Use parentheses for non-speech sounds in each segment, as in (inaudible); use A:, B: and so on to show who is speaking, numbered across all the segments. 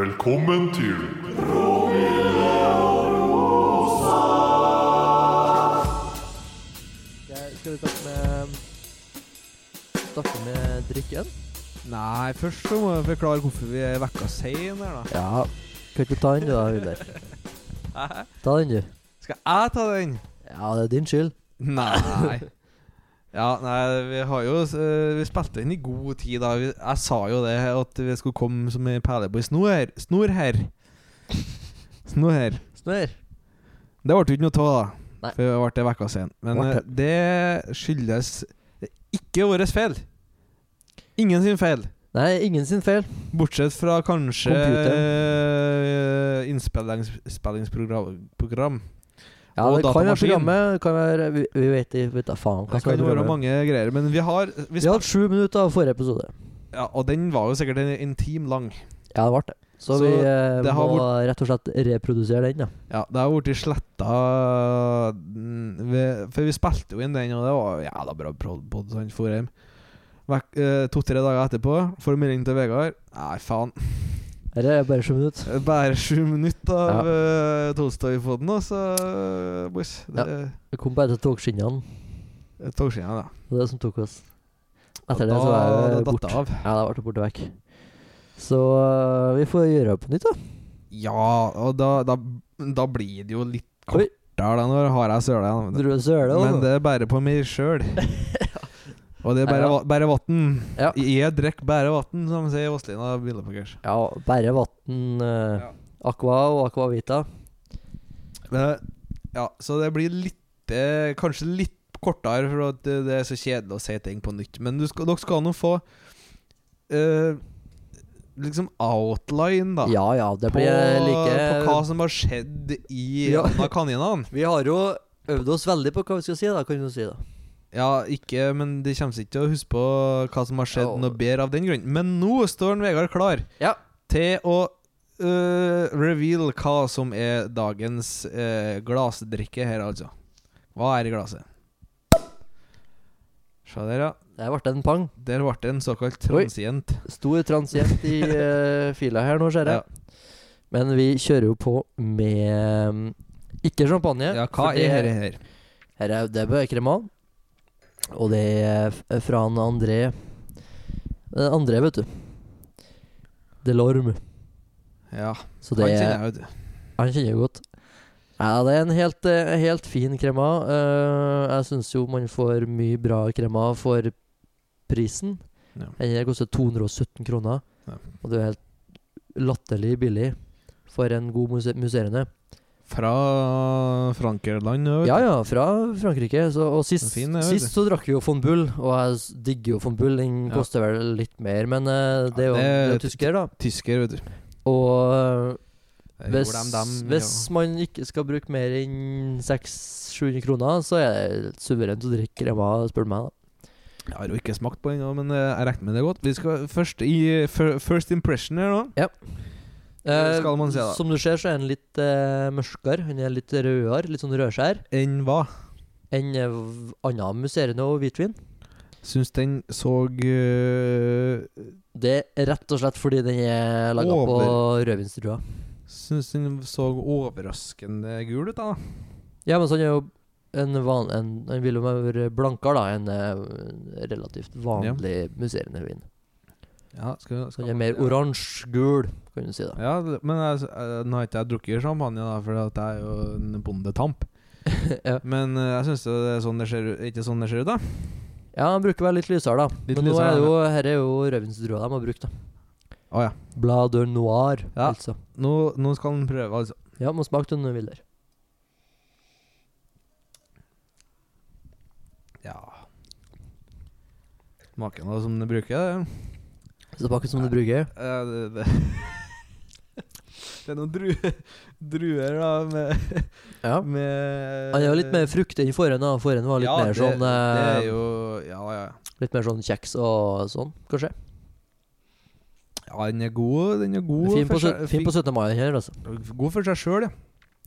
A: Velkommen til
B: Jeg skal vi starte med Starte med drikken?
C: Nei, først så må jeg forklare hvorfor vi er vekka sein her, da.
B: Ja. Kan ikke du ta den, du da, Hunder?
C: Hæ?
B: Ta den, du.
C: Skal jeg ta den?
B: Ja, det er din skyld.
C: Nei. (laughs) Ja, nei, vi har jo eh, Vi spilte inn i god tid, da. Vi, jeg sa jo det, at vi skulle komme som en perle på ei snor her. Snor her. Snor her.
B: Snør.
C: Det ble jo ikke noe av, da.
B: Nei.
C: For vi ble vekka sein. Men
B: Ble
C: eh, det skyldes ikke vår feil. Ingen sin feil.
B: Nei, ingen sin feil.
C: Bortsett fra kanskje
B: Computeren.
C: eh, innspillings- innspillingsprogram. program.
B: Ja,
C: Og
B: det kan være
C: datamaskin.
B: programmet. Det kan være Vi, vi vet ikke vet da faen hva
C: Det
B: som
C: kan
B: er
C: være
B: programmet.
C: mange greier, men vi har vi
B: Vi har
C: spil-
B: hatt sju minutter av forrige episode.
C: ja, Og den var jo sikkert en, en time lang.
B: Ja, det ble det. Så,
C: Så
B: vi eh,
C: det har
B: må rett og slett reprodusere den, da.
C: Ja, Det har blitt sletta For vi spilte jo inn den, og det var jævla bra podpod. Han for hjem. Vekk- eh, To-tre dager etterpå får en melding til Vegard. Nei, faen.
B: Dette er bare sju minutter.
C: Bare sju minutter av eh, Tolstoy-poden, altså, boys. Det
B: Vi kom bare til togskinnene.
C: er togskinnene, da.
B: Det er det som tok oss. Etter det
C: Da-
B: så var jeg
C: da datt
B: borte.
C: det av.
B: Ja, da ble det borte vekk. Så eh, vi får gjøre det på nytt, da.
C: Ja, og da, da, da blir det jo litt
B: Oi.
C: kortere, da, når har jeg søla. da.
B: Dro du søle også?
C: Men det er bare på
B: (laughs)
C: meg sjøl. Og det er
B: Nei,
C: bare,
B: altså. ja.
C: va- bare vann.
B: Ja.
C: Jeg drikker bare vann, som sier Åslina Billepakkers.
B: Ja, bare vann, eh,
C: Ja.
B: aqua og aquavita.
C: Ja, så det blir litt eh, Kanskje litt kortere, for at det, det er så kjedelig å si ting på nytt. Men du skal, dere skal nå få eh, liksom outline, da.
B: Ja ja, det
C: på,
B: blir
C: på hva
B: like
C: som har skjedd i
B: Ja.
C: av kaninene.
B: Vi har jo øvd oss veldig på hva vi skal si, da, kan du si. da
C: Ja, ikke Men de kommer ikke til å huske på hva som har skjedd,
B: Ja.
C: noe bedre av den grunn. Men nå står en Vegard klar
B: Ja.
C: til å øh, reveal hva som er dagens øh, glassdrikke her, altså. Hva er i glasset? Se der, ja.
B: Det ble en pang.
C: Der ble det en såkalt
B: Oi.
C: transient.
B: Stor transient
C: (laughs)
B: i eh, fila her nå, ser jeg.
C: Ja.
B: Men vi kjører jo på med mm, ikke champagne.
C: ja, hva
B: for det-
C: er her, her?
B: Her er det er kremal. Og det er f- fra han André Den André, vet du. Delorme.
C: Ja,
B: Så
C: han
B: det er
C: kjenner jeg, vet du.
B: Han kjenner jo godt. Ja, det er en helt, eh, helt fin krema. Eh, jeg syns jo man får mye bra krema for prisen.
C: Ja.
B: Den her koster 217 kroner,
C: Ja.
B: og det er helt latterlig billig for en god muse muserende.
C: Fra Frankerland, vet du.
B: Ja ja, fra Frankrike. Så, og sist,
C: Den er fin, det, vet
B: sist så drakk vi jo von Bull, og jeg s- digger jo von Bull. Den
C: Ja.
B: koster vel litt mer, men eh, det er jo
C: Ja,
B: det er
C: det
B: jo tysker, da.
C: Tysker, vet du.
B: Og eh,
C: Der
B: Hvis,
C: gjorde dem- dem,
B: hvis man ikke skal bruke mer enn 600-700 kroner, så er det helt suverent å drikke krema, spør du meg. da
C: Jeg har jo ikke smakt på ennå, men eh, jeg regner med det er godt. Vi skal først i fir- First impression her nå. Det skal man si, da.
B: Eh, Som du ser, så er den litt eh, mørkere. Den er litt rødere, litt sånn rødskjær,
C: Enn hva?
B: enn eh, v- annen musserende og hvitvin.
C: Syns den så eh,
B: Det er rett og slett fordi den er laga på
C: Over.
B: rødvinsdrua.
C: Syns den så overraskende gul ut, da.
B: Ja, men sånn er jo en van... En, den vil jo være blankere da enn eh, relativt vanlig musserende vin.
C: Ja, skal,
B: Så den er mer oransje-gul, kan du si. da
C: Ja, det- men jeg, jeg, nå har ikke jeg drukket champagne, da, for at jeg er jo en bondetamp.
B: (laughs) ja.
C: Men eh, jeg syns det er sånn det ser ut. Ikke sånn det ser ut, da.
B: Ja, han bruker vel litt lysere, da.
C: Litt
B: Men nå
C: lysere,
B: er det jo, her er jo rødvinsdrua de har brukt, da.
C: Å ja.
B: Blad de noir,
C: Ja.
B: altså.
C: Nå, nå skal den prøve, altså.
B: Ja, må smake den du vil der.
C: Ja. Smaker noe som den bruker. det.
B: Smaker som du bruker.
C: Eh, det, det. det (laughs) er noen dru, druer, da, med,
B: Ja.
C: med
B: Han er jo litt mer frukt enn forhen, da. Forhen var litt
C: Ja,
B: mer
C: det,
B: sånn
C: Det
B: eh,
C: er jo Ja, ja.
B: Litt mer sånn kjeks og sånn, kanskje.
C: Ja, den er god. Den er god
B: Fin på,
C: for
B: sø-
C: seg-
B: fin på 17. mai, den her, altså.
C: fin- god for seg sjøl, ja.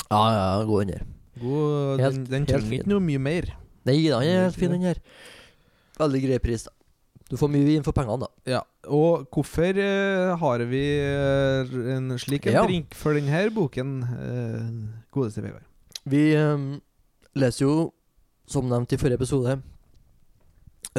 B: Ja, ja, ja, god den her.
C: God,
B: Helt-
C: den den
B: helt
C: trenger
B: fin.
C: ikke noe mye mer.
B: Nei da, han er helt fin, den her. Veldig grei pris, da. Du får mye inn for pengene, da.
C: Ja, og hvorfor eh, har vi eh, en slik en
B: Ja.
C: drink for denne boken, eh, godeste Vegard?
B: Vi eh, leser jo, som nevnt i forrige episode,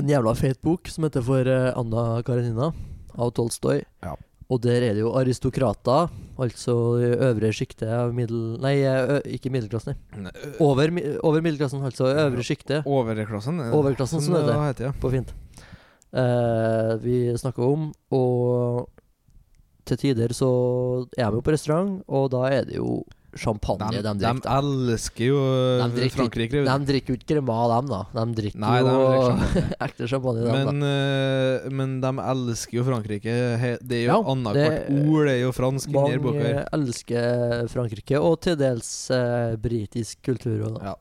B: en jævla fet bok som heter for eh, Anna Karenina av Tolstoy.
C: Ja.
B: Og der er det jo aristokrater, altså i øvre sjiktet av middel... Nei, eh, ø, ikke middelklassen. nei. Over, mi- over middelklassen, altså øvre sjiktet
C: Overklassen? eh,
B: Overklassen, som det
C: det heter. ja.
B: på fint. Eh, vi snakker om, og til tider så er vi jo på restaurant, og da er det jo champagne de,
C: De,
B: drikker.
C: de elsker jo
B: De drikker ikke-
C: øh, Frankrike. vet du.
B: De drikker jo ikke crema, dem, da. De drikker
C: Nei, de
B: jo (laughs)
C: drikker
B: ekte champagne, dem,
C: Men, eh, men de elsker jo Frankrike. He- Det er jo
B: Ja,
C: annethvert
B: det-
C: ord, det er jo fransk
B: da.
C: inni her boka.
B: Mange
C: her.
B: elsker Frankrike, og til dels eh, britisk kultur. Og da.
C: Ja.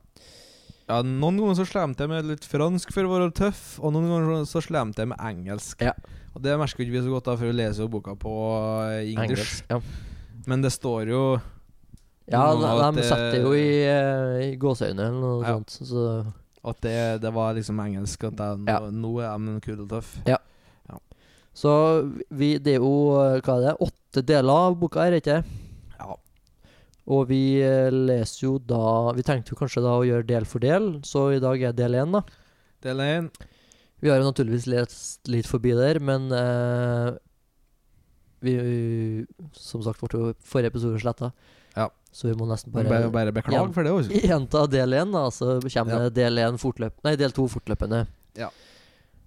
C: Ja, noen ganger så slemte jeg med litt fransk for å være tøff, og noen ganger så slemte jeg med engelsk.
B: Ja.
C: Og det merker jo ikke vi så godt, da, for vi leser jo boka på eh, engelsk.
B: Ja,
C: Men det står jo
B: ja de,
C: Noe at
B: de
C: det-
B: setter jo i, eh, i gåseøyne eller noe
C: Ja.
B: sånt. Så
C: at det, det var liksom engelsk. At jeg, nå,
B: Ja.
C: nå er de kule og tøff.
B: Så vi, det er jo eh, hva er det, åtte deler av boka her, er ikke det?
C: Ja.
B: Og vi eh, leser jo da Vi tenkte jo kanskje da å gjøre del for del, så i dag er del én, da.
C: Del én.
B: Vi har jo naturligvis lest litt forbi der, men eh, vi, Som sagt ble jo forrige episode sletta,
C: Ja.
B: så vi må nesten
C: Bare,
B: bare,
C: bare, beklag
B: Ja.
C: for det. altså. Også.
B: (laughs) gjenta del én, da. Så kommer
C: Ja.
B: det del én fortløp... Nei, del to fortløpende.
C: Ja.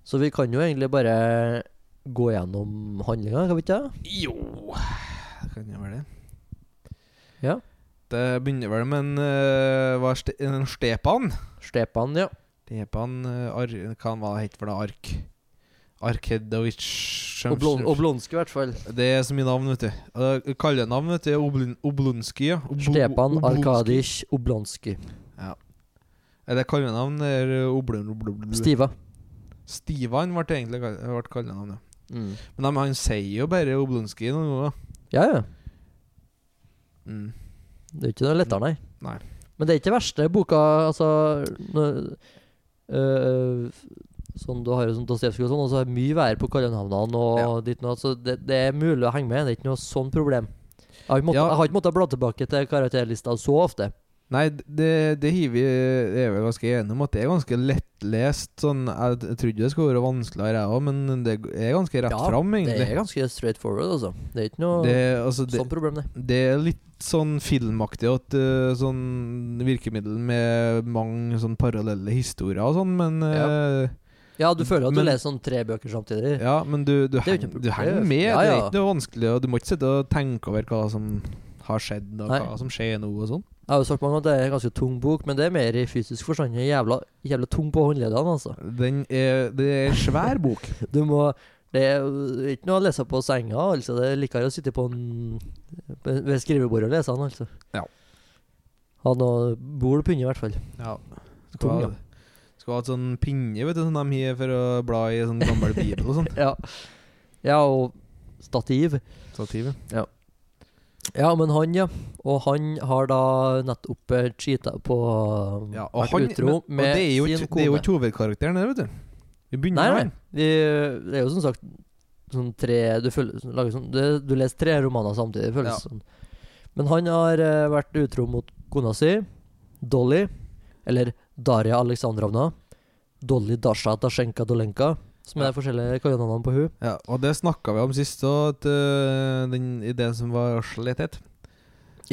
B: Så vi kan jo egentlig bare gå gjennom handlinga, kan vi ikke det?
C: Jo Det Kan jeg vel det?
B: Ja.
C: Det begynner vel med en, eh, hva er ste, en Stepan.
B: Stepan, ja.
C: Stepan eh, ar, Hva var det het for det? Ark? Arkedovic
B: Oblon, Oblonsk, i hvert fall.
C: Det er så mye navn, vet du. Og Kallenavn, vet du. er Oblon, Oblonskij. Ja. Oblo-
B: Stepan
C: Oblonskij.
B: Arkadij Oblonski.
C: Eller kallenavn er eh, Oblon... Oblon, Oblon.
B: Stiva.
C: Stivan ble egentlig kall- ble kallenavn, ja.
B: Mm.
C: Men de, han sier jo bare Oblonskij noen ganger. da.
B: Ja, ja.
C: Mm.
B: Det er ikke noe lettere, nei.
C: Nei.
B: Men det er ikke verste boka, altså nå- øh, Sånn, Du har jo sånn Dostojevskij og sånn, og så er det mye vær på kallenavnene og
C: Ja.
B: ditt og datt, så det, det er mulig å henge med. Det er ikke noe sånn problem. Jeg har ikke måttet,
C: Ja.
B: jeg har ikke måttet bla tilbake til karakterlista så ofte.
C: Nei, det, det hiver vi det er vel ganske enige om at det er ganske lettlest. Sånn, jeg, jeg trodde det skulle være vanskeligere, jeg òg, men det er ganske rett
B: Ja,
C: fram,
B: Det
C: egentlig.
B: er ganske straight forward, altså. Det er ikke noe
C: Det, altså, det,
B: sånn problem, det.
C: det er litt sånn filmaktig at eh, sånn virkemiddel med mange sånn parallelle historier og sånn, men eh,
B: Ja, du føler at
C: Men-
B: du leser sånn tre bøker samtidig.
C: ja. men du, du,
B: er jo ikke
C: heng,
B: noe
C: du henger
B: problem.
C: med.
B: Ja,
C: Det er
B: ja.
C: ikke noe vanskelig, og du må ikke sitte og tenke over hva som har skjedd, og
B: Nei.
C: hva som skjer nå, og sånn.
B: Jeg har jo sagt mange ganger at det er en ganske tung bok, men det er mer i fysisk forstand. Den er Jævla, jævla tung på håndleddene, altså.
C: Den er, det er en svær bok.
B: Du må Det er jo ikke noe å lese på senga, altså. Det er likere å sitte på en, ved skrivebordet og lese den, altså.
C: Ja.
B: Ha noe bord på under, i hvert fall.
C: (laughs) Ja.
B: Tung,
C: Skal,
B: ja.
C: ha, skal ha et sånn pinne vet du, som de har for å bla i sånn gammel bibel og sånn.
B: Ja. ja, og stativ.
C: Stativ.
B: Ja, men han, ja. Og han har da nettopp eh, cheata på
C: (laughs) Ja, og,
B: Vært
C: han, men,
B: utro
C: og
B: med
C: det er jo
B: sin
C: ikke det er jo
B: kone.
C: ikke hovedkarakteren der, vet du. Vi begynner
B: Nei,
C: med
B: nei.
C: han.
B: Vi, det er jo som sagt sånn tre Du, føler, lager sånn, du, du leser tre romaner samtidig, føles
C: Ja.
B: sånn. Men han har eh, vært utro mot kona si, Dolly, eller Daria Aleksandrovna. Dolly Dasha Dasjenka Dolenka, som er
C: Ja.
B: de forskjellige kallenavnene på hun
C: Ja, og det snakka vi om sist òg, at øh, den ideen som var slettet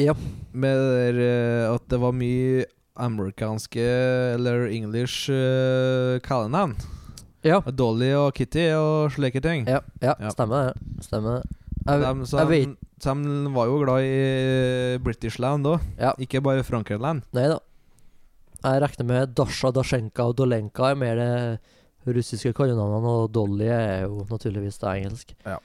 B: Ja.
C: Med det der, øh, at det var mye amerikanske eller english øh, kallenavn.
B: Ja,
C: Dolly og Kitty og slike ting.
B: ja, ja,
C: Ja.
B: stemmer det. Stemmer det. Jeg,
C: Dem- så
B: jeg
C: dem- så de var jo glad i eh, Britishland òg,
B: Ja.
C: ikke bare Frankerland.
B: nei da. Jeg regner med Dasha Dasjenka og Dolenka er mer det russiske kallenavnene, og Dolly er jo naturligvis det engelsk.
C: Ja.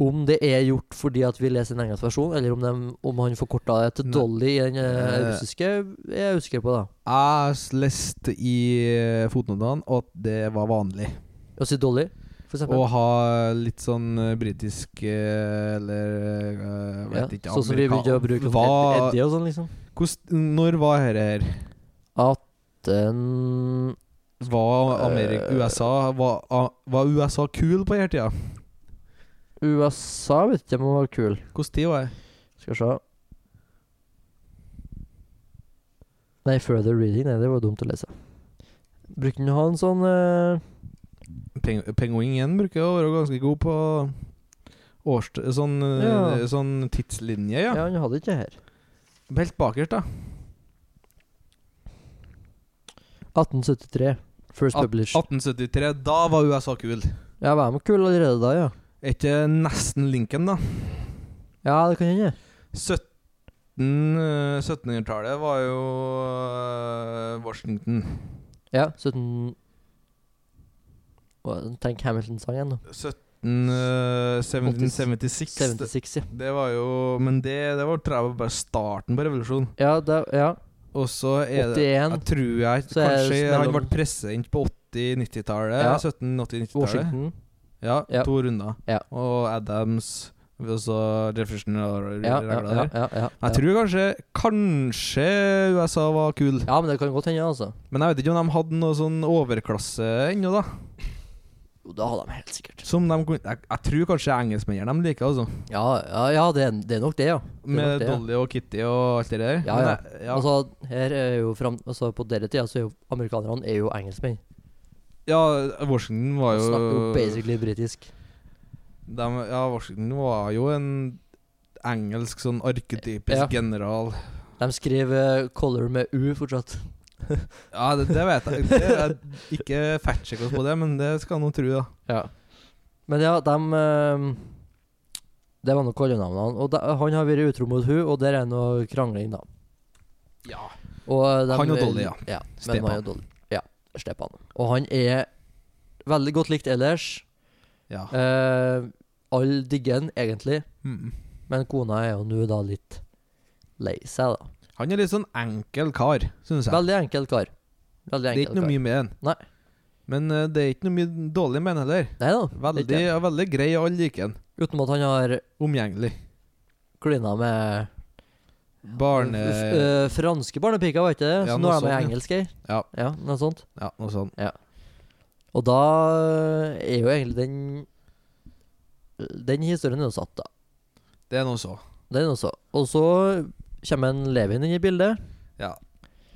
B: Om det er gjort fordi at vi leser en engelsk versjon, eller om, dem- om han forkorta det til
C: Nei.
B: Dolly i den eh,
C: Eh.
B: russiske, er jeg usikker på, da.
C: Jeg s- leste i eh, fotnotene at det var vanlig
B: Å si Dolly, for eksempel.
C: å ha litt sånn eh, britisk eh, eller eh, jeg
B: ja.
C: vet ikke
B: sånn som vi
C: amerika-
B: begynte å bruke sånn Ed-
C: Hva-
B: Eddie og sånn, liksom. eh,
C: hvordan- Når var dette her?
B: 18
C: Var Amerik
B: Eh.
C: USA var, a- var USA kul på denne tida?
B: USA vet ikke om han var kul.
C: Hvordan tid var det?
B: Skal vi se Nei, further reading. Nei, det var dumt å lese. Brukte han å ha en sånn eh,
C: Peng Penguinen bruker å være ganske god på årst... Sånn, eh,
B: Ja.
C: sånn tidslinje,
B: ja.
C: ja.
B: han hadde ikke det her.
C: Helt bakerst, da.
B: 1873. First
C: At-
B: published.
C: 1873. Da var USA kul.
B: Ja, var med kul allerede da, ja.
C: Er ikke nesten Lincoln, da?
B: Ja, det kan hende.
C: 17, eh, 1700-tallet var jo eh, Washington.
B: Ja, 17 Å, Tenk Hamilton-sang igjen, nå.
C: 17, eh, 1776.
B: 76, ja.
C: Det var jo Men det, det var tror jeg, bare starten på revolusjonen.
B: Ja, da, ja.
C: Og så er det
B: 81.
C: Jeg tror jeg
B: Så er det
C: Kanskje han
B: mellom-
C: ble president på 80-90-tallet.
B: Ja.
C: 1780-90-tallet.
B: Washington.
C: Ja,
B: Ja.
C: to runder.
B: Ja.
C: Og Adams og så Jefferson og
B: Ja, ja,
C: regla der.
B: ja, ja, ja,
C: Jeg tror kanskje Kanskje USA var kul.
B: ja, men det kan godt hende, altså.
C: Men jeg vet ikke om de hadde noe sånn overklasse ennå, da.
B: Jo, det hadde de helt sikkert.
C: Som de kunne Jeg, jeg tror kanskje engelskmennene de liker, altså.
B: Ja, ja, ja det, er, det er nok det, ja. er nok
C: Med
B: det, ja.
C: Dolly og Kitty og alt det der.
B: Ja,
C: Men
B: ja.
C: jeg- ja.
B: Altså, her er jo fram, altså, på denne tida så er jo amerikanerne er jo engelskmenn.
C: ja, Washington var
B: De
C: jo
B: Snakker jo basically britisk.
C: De, ja, Washington var jo en engelsk sånn arketypisk
B: Ja.
C: general.
B: De skriver eh, 'color' med u fortsatt.
C: Ja, det, det vet jeg. Det er ikke fact-sjekk oss på det, men det skal noen tro, da.
B: Ja. Men ja, de eh, Det var nå kallenavnene. Og da- han har vært utro mot hun, og der er noe krangling, da.
C: Ja.
B: Og eh, dem-
C: Han og Dolly, ja.
B: ja men
C: Stepan.
B: han og Dolly. Ja, Stepan. Og han er veldig godt likt ellers.
C: ja.
B: Eh, Alle digger han egentlig,
C: Mm.
B: men kona er jo nå da litt lei seg, da.
C: Han er litt sånn enkel kar, syns jeg.
B: Veldig enkel kar. Veldig
C: det er
B: enkel
C: ikke noe mye med den.
B: Nei.
C: Men eh, det er ikke noe mye dårlig med den heller.
B: Nei da.
C: Veldig,
B: ikke.
C: ja, veldig grei, og alle liker den.
B: Uten at han har
C: Omgjengelig.
B: klina med
C: Barne...
B: F- eh, franske barnepiker, var ikke det?
C: Ja,
B: så nå
C: noe
B: er de
C: sånt, ja.
B: engelske.
C: Ja.
B: ja, noe sånt.
C: Ja, noe sånt.
B: Og da eh, er jo egentlig den Den historien er jo satt, da.
C: Det er noe så.
B: Den også. Og så kommer en Levin inn i bildet.
C: Ja.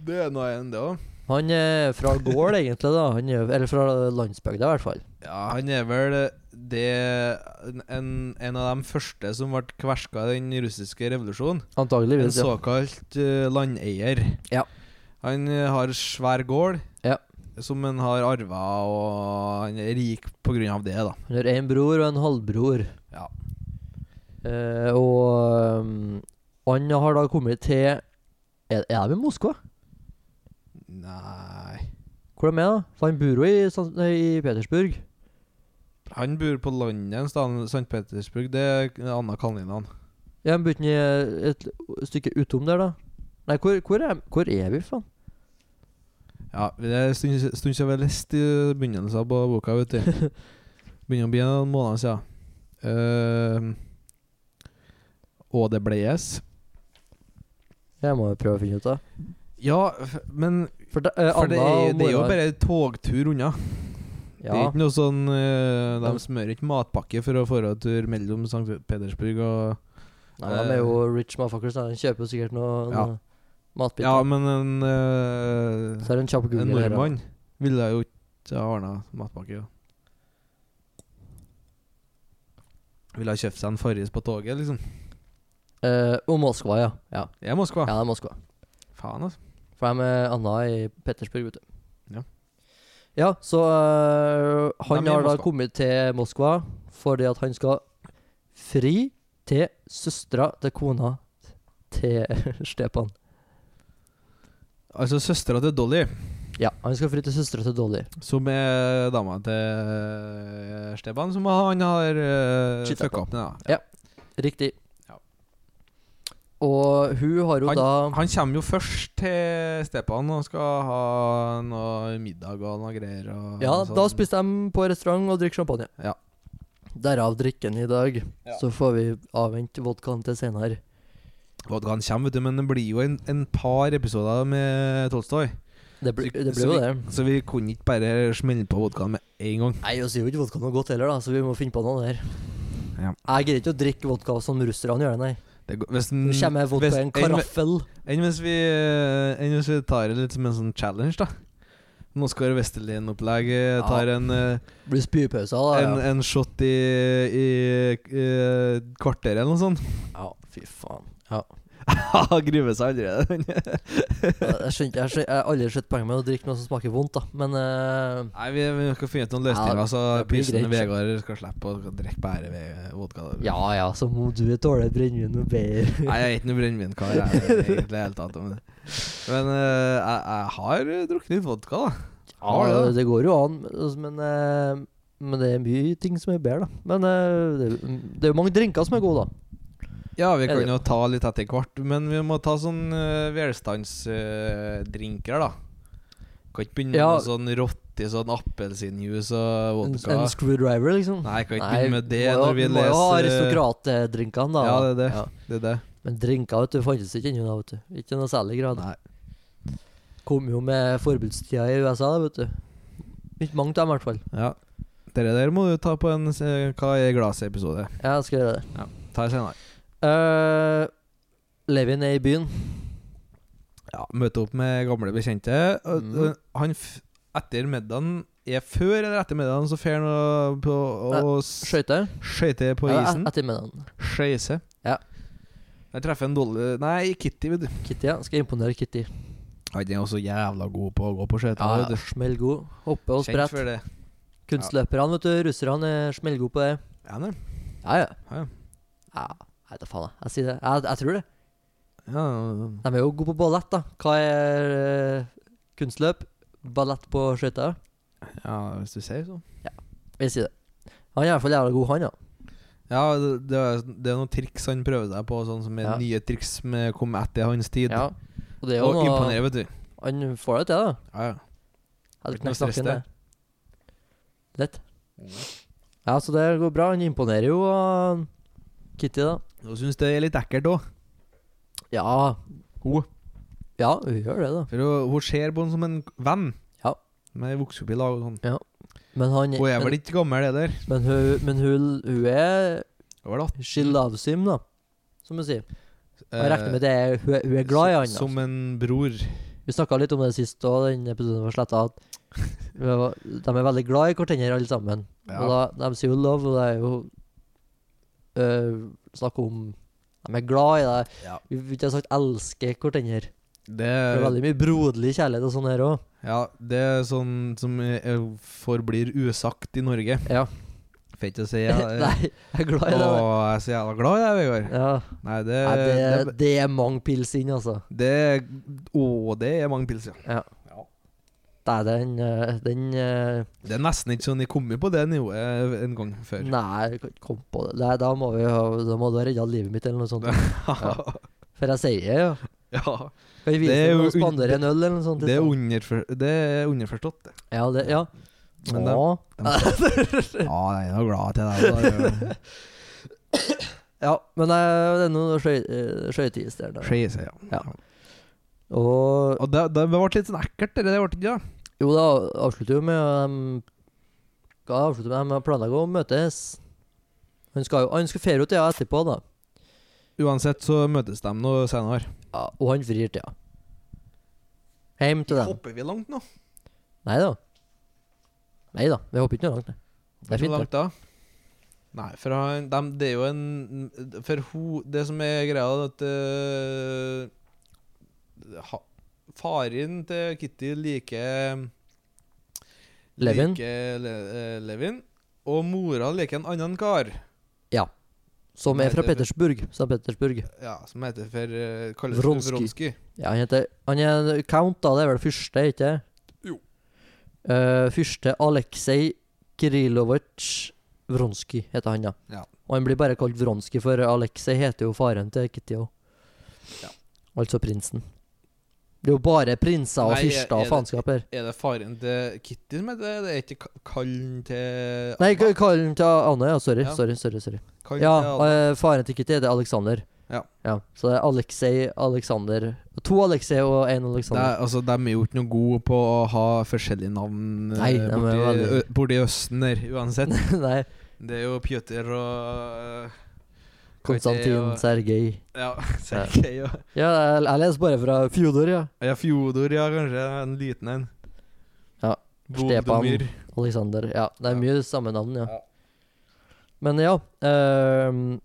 C: Det er noe enn det òg.
B: Han er fra gård, (laughs) egentlig, da. Han er, eller fra landsbygda, i hvert fall.
C: Ja, han er vel det en, en av de første som ble kverska i den russiske revolusjonen. En
B: Antageligvis. Ja.
C: såkalt eh, landeier.
B: Ja.
C: Han eh, har svær gård
B: Ja.
C: som han har arva, og han er rik på grunn av det, da.
B: Han har én bror og en halvbror.
C: Ja.
B: Eh, og um, han har da kommet til Er, er de i Moskva?
C: Nei
B: Hvor er de er, da? For han bor jo i, San- nei, i Petersburg.
C: Han bor på landet en sted, St. Petersburg. Det er Anna Kalninan.
B: Ja, han bor ikke i et stykke utom der, da. Nei, hvor, hvor, er, hvor er vi, faen?
C: Ja, det er en stund stund siden vi har lest i begynnelsen på boka, vet du. (laughs) Begynner å bli noen måneder siden. Uh, og det ble yes.
B: Jeg må jo prøve å finne ut av.
C: Ja, f- men
B: For, da- eh,
C: For det
B: Anna
C: er,
B: og
C: det er jo
B: mora-
C: bare en togtur unna. Det er
B: Ja.
C: ikke noe sånn eh,
B: Ja.
C: De smører ikke matpakke for å få en tur mellom St. Petersburg og
B: Nei, de er jo rich motherfuckers. da. De kjøper jo sikkert noe,
C: Ja.
B: noe matbiter.
C: Ja, men en, eh,
B: Så er det en kjapp
C: en
B: google her. da.
C: nordmann ville jo ikke ha ordna matpakke. Ja. Ville ha kjøpt seg en Farris på toget, liksom.
B: Eh, og Moskva, ja. ja.
C: Det er Moskva.
B: Ja, det er Moskva.
C: Faen, altså.
B: For de er Anna i Pettersburg, vet du.
C: Ja.
B: Ja, så øh, han
C: De er i
B: har da
C: Moskva.
B: kommet til Moskva fordi at han skal fri til søstera til kona til (laughs) Stepan.
C: Altså søstera til Dolly,
B: Ja, han skal fri til søstera til Dolly.
C: som er dama til eh, Steban, som han har uh,
B: Cheatet på.
C: fucka opp med. da.
B: Riktig.
C: Ja.
B: Og hun har jo da
C: Han kommer jo først til Stepan og skal ha noe middag og noe greier. Og
B: Ja,
C: sånn.
B: da spiste de på restaurant og drikker champagne.
C: Ja.
B: Derav drikken i dag.
C: Ja.
B: Så får vi avvente vodkaen til senere.
C: Vodkaen kommer, vet du, men det blir jo en, en par episoder med Tolstoy.
B: Det, blir-
C: Så-
B: det
C: så
B: ble jo
C: vi-
B: det.
C: Så vi kunne ikke bare smelle på vodkaen med en gang.
B: Nei, og så er jo ikke vodka noe godt heller, da, så vi må finne på noe der.
C: Ja.
B: Jeg greier ikke å drikke vodka som russerne gjør, nei.
C: Det går- hvis
B: Nå
C: den-
B: kommer vodka
C: Mm, hvis-
B: i en karaffel.
C: Enn hvis, vi, eh, enn hvis vi tar det litt som en sånn challenge, da. En Oskar Westerlin-opplegg eh, tar en, eh,
B: Blir spypausa, da.
C: en,
B: ja.
C: en shot i, i, eh, kvarteret eller noe (laughs) sånt.
B: ja, fy faen.
C: Gruer seg allerede.
B: Jeg jeg skjønte, jeg, skjønte, jeg har aldri sett poenget med å drikke noe som smaker vondt, da. Men eh,
C: (laughs) Nei, vi, vi skal finne ut noen løsninger,
B: Ja,
C: så
B: det blir
C: pysen
B: greit.
C: Vegard skal slippe å drikke bare ved vodka.
B: ja ja, som om du tåler brennevin og bedre.
C: (laughs) Nei, jeg er ikke noen brennevinkar, jeg, egentlig. i det hele tatt, Men, men eh, jeg, jeg har drukket litt vodka, da. Har
B: Ja,
C: du
B: det går jo an, men, eh, men det er mye ting som er bedre, da. Men eh, det, det er jo mange drinker som er gode, da.
C: Ja, vi kan
B: Eller-
C: jo ta litt etter hvert, men vi må ta sånn uh, velstandsdrinker, da. Kan ikke begynne med
B: Ja.
C: noe sånn rotte, sånn appelsinjuice og
B: En,
C: vodka.
B: en screwdriver, liksom.
C: Nei, kan ikke begynne med det
B: må jo-
C: når vi
B: Må jo ha
C: leser eh,
B: aristokratdrinkene, da.
C: Ja, det er det. Det er det.
B: Men drinker vet du, fantes ikke ennå, da, vet du. Ikke i noe særlig grad.
C: Nei.
B: Kom jo med forbudstida i USA, da, vet du. Ikke mange av dem, i hvert fall.
C: Ja. Dere der må du ta på en eh, Hva er glasset-episode.
B: Jeg skal gjøre det.
C: Ta det senere.
B: Uh, Levin er i byen.
C: Ja, møte opp med gamle bekjente. Og,
B: Mm.
C: og Han f etter middagen er før eller etter middagen, så fer han og- på og s-
B: Skøyter.
C: skøyter på
B: Ja,
C: isen.
B: et- Ettermiddagen.
C: Skeise.
B: Ja.
C: Jeg treffer en dolly Nei, Kitty, vet du.
B: Kitty, ja. Skal imponere Kitty.
C: Han er også jævla god på å gå på skøyter.
B: Ja,
C: vet du.
B: Smellgod. Hoppe og
C: Kjent
B: sprette.
C: for det.
B: Kunstløperne, vet du. Russerne er smellgode på det.
C: Ja, nei.
B: Ja, ja.
C: Ja.
B: ja. Jeg vet da faen, jeg. Jeg sier det. Jeg, jeg tror det.
C: Ja,
B: De er jo gode på ballett, da. Hva er eh, kunstløp? Ballett på skøyter?
C: ja, hvis du sier så.
B: Jeg sier det. Han er i hvert fall jævla god, han, ja.
C: Ja, det, det er- det er noen triks han prøver seg på, sånn som er
B: Ja.
C: nye triks som er kommet etter hans tid.
B: ja. Og det er jo
C: Og
B: noe
C: imponerer, vet du.
B: Han får det til, da.
C: Ja, ja.
B: Jeg tror
C: Ikke noe
B: ikke snakker
C: stress
B: om det. Lett. Mm. Ja, så det går bra. Han imponerer jo og Kitty, da.
C: Hun syns det er litt ekkelt òg.
B: Ja,
C: Hun
B: ja, hun gjør det, da.
C: For hun, hun ser på han som en venn.
B: Ja.
C: Men jeg vokste opp i lag og sånn.
B: Men han
C: Hun er vel
B: men,
C: ikke gammel, det der.
B: men, hun, men hun, hun er
C: Hun er vel atten.
B: She loves him, da. Som hun sier. Og Jeg regner
C: Mm. Eh,
B: med det er, hun, er- hun er glad i han.
C: som-
B: da.
C: Som en bror.
B: Vi snakka litt om det sist, og den episoden var sletta. De er veldig glad i hverandre, alle sammen.
C: Ja.
B: Og da, De sier jo love, og det er jo øh, snakk om De er glad i deg.
C: Ja.
B: Vi vil ikke ha sagt elsker hverandre. Det er
C: Det,
B: veldig mye broderlig kjærlighet og sånn her òg.
C: ja, det er sånn som eh, forblir usagt i Norge.
B: Ja.
C: Får ikke
B: (laughs)
C: si ja, eh,
B: Nei, jeg er glad i det.
C: Å, jeg er så jævla glad i deg, Vegard.
B: Ja.
C: Nei, det,
B: Nei, det,
C: Øh, det,
B: det er mange pils inn, altså.
C: det Å, det er mange pils, ja.
B: Det er den, eh, den eh,
C: Det er nesten ikke sånn jeg kom på det nivået en gang før. (laughs)
B: Nei, jeg kan ikke komme på det. Nei, da må, vi, ha- da må du ha redda livet mitt, eller noe sånt. For jeg sier det, jo.
C: ja.
B: Kan vi
C: Det
B: vise
C: er
B: deg
C: jo
B: å spandere
C: un-
B: en øl, eller noe sånt?
C: Det er,
B: liksom?
C: underfor, det er underforstått, det.
B: Ja, det, ja.
C: Men det-
B: Åh.
C: (laughs) Ja, jeg er glad til deg.
B: ja, men eh, det er noe skøy- eh, skøyteis der. da.
C: Skeise, ja.
B: Ja. Og
C: Og det, det ble litt sånn ekkelt, det der, det ble ikke det?
B: Jo, det avslutter jo med um, Hva avslutter med? De planlegger å møtes. Han skal jo Han skal ferie til ja etterpå, da.
C: Uansett så møtes de nå senere.
B: Ja, og han vrir til ja. Hjem til dem.
C: vi langt nå?
B: Nei da. Nei da, vi hopper ikke noe langt. nei. Det er
C: Hvor
B: fint.
C: langt da? Nei, for han dem- Det er jo en For ho, det som er greia, er at eh, ha, Faren til Kitty liker
B: Levin.
C: Liker le, eh, Levin. Og mora liker en annen kar.
B: det. Ja. Som
C: Nei,
B: er fra
C: det er-
B: Petersburg. St. Petersburg.
C: Ja, som heter for eh, Kalles
B: Vronsky.
C: for Vronsky.
B: Ja, han heter Han er en count, da. Det er vel fyrste, ikke det?
C: Jo.
B: Eh, fyrste Aleksej Krilovitsj Vronsky heter han, ja.
C: Ja.
B: Og han blir bare kalt Vronsky, for Aleksej heter jo faren til Kitty òg.
C: Ja.
B: Altså prinsen. Det er jo bare prinser og
C: Nei,
B: fyrster
C: er
B: og
C: det-
B: faenskap her.
C: Er det faren til Kitty som heter det? Det er ikke ka- kallen til
B: Nei,
C: Anna?
B: k- kall den til Anne. Ja, sorry.
C: Ja.
B: sorry, sorry, sorry.
C: Kallen
B: Ja,
C: til Anna.
B: eh, Faren til Kitty heter Alexander.
C: Ja.
B: Så det er Aleksej, Aleksander To Aleksej og én
C: Det
B: Aleksander.
C: er, altså, de er jo ikke noe gode på å ha forskjellige navn eh,
B: Nei, de er
C: borti,
B: veldig-
C: ø- borti Østen der, uansett.
B: (laughs) (laughs) Nei.
C: Det er jo Pjotr og eh, Kaiti
B: Konstantin
C: og-
B: Sergej.
C: Ja, (laughs) Sergej og
B: Ja, jeg, jeg leser bare fra Fjodor, ja.
C: Ja, Fjodor, ja, kanskje. En liten en.
B: Ja, Stepan.
C: Voldomyr.
B: Alexander. Ja, det er
C: Ja.
B: mye samme navn, ja.
C: Ja.
B: Men ja. ehm,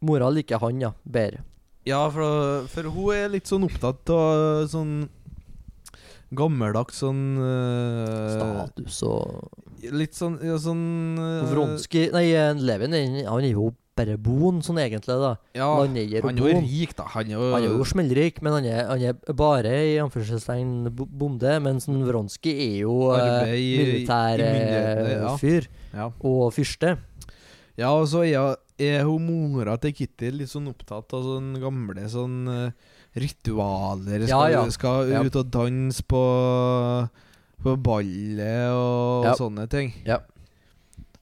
B: mora liker han, ja. Bedre.
C: Ja, for, for hun er litt sånn opptatt av sånn gammeldags sånn eh,
B: Status og
C: Litt sånn, ja, sånn eh,
B: Vronskij Nei, eh, Levin han han er jo bare bon, sånn egentlig, da.
C: eh, Ja,
B: Han er jo
C: han er jo
B: bon.
C: rik, da. Han er jo,
B: Han er jo smellrik, men han er, han er bare i anførselstegn bo- bonde. Mens Vronskij er jo eh,
C: Arbeid i- i
B: militær
C: myndighetene,
B: eh,
C: ja.
B: fyr
C: ja.
B: og fyrste.
C: ja, og så er, er hun mora til Kitty litt sånn opptatt av sånn gamle sånn eh, ritualer. Skal,
B: Ja, ja.
C: skal
B: Ja.
C: ut og danse på, på ballet og,
B: Ja.
C: sånne ting.
B: Ja.